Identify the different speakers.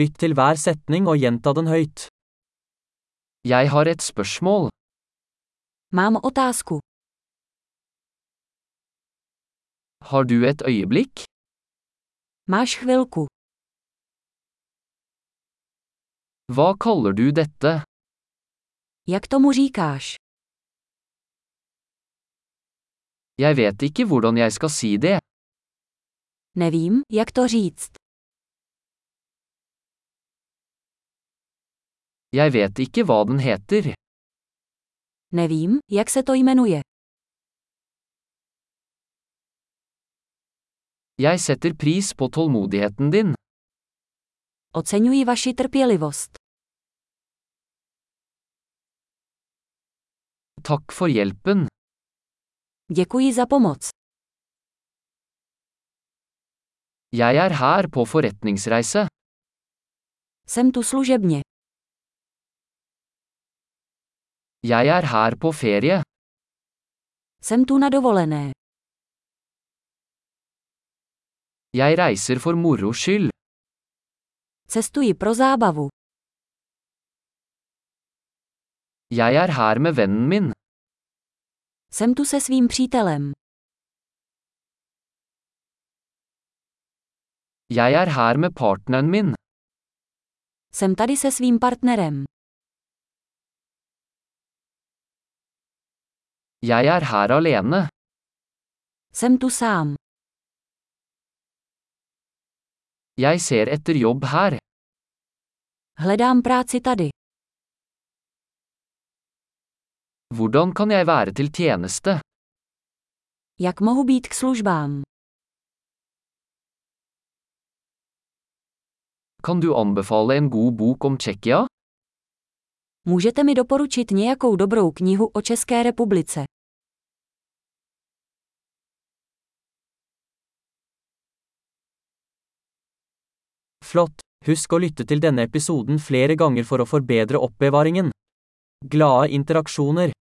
Speaker 1: Lytt til hver setning og gjenta den høyt.
Speaker 2: Jeg har et spørsmål.
Speaker 3: Mám otázku.
Speaker 2: Har du et øyeblikk?
Speaker 3: Máš chvilku.
Speaker 2: Hva kaller du dette?
Speaker 3: Jak tomu říkáš?
Speaker 2: Jeg vet ikke hvordan jeg skal si det.
Speaker 3: Nevím, jak to říct.
Speaker 2: Jeg vet ikke hva den heter.
Speaker 3: Nevím, jak se to jmenuje.
Speaker 2: Jeg setter pris på tålmodigheten din.
Speaker 3: Oceňuji vaši trpělivost.
Speaker 2: Takk for hjelpen.
Speaker 3: Děkuji za pomoc.
Speaker 2: Jeg er her på forretningsreise.
Speaker 3: Jsem tu služebně.
Speaker 2: Jeg er her på ferie.
Speaker 3: Jsem tu na dovolené.
Speaker 2: Jeg reiser for moro skyld.
Speaker 3: Cestuji pro zábavu.
Speaker 2: Jeg er her med vennen min.
Speaker 3: Jsem tu se svým přítelem.
Speaker 2: Jeg er her med partneren min.
Speaker 3: Jsem tady se svým partnerem.
Speaker 2: Jeg er her alene.
Speaker 3: Jsem tu sám.
Speaker 2: Jeg ser etter jobb her.
Speaker 3: Hledám práci tady.
Speaker 2: Hvordan kan jeg være til tjeneste?
Speaker 3: Jak mohu být k službám?
Speaker 2: Kan du anbefale en god bok om Tsjekkia?
Speaker 3: Můžete mi doporučit nějakou dobrou knihu o České republice?
Speaker 1: Flott! Husk å lytte til denne episoden flere ganger for å forbedre oppbevaringen. Glade interaksjoner!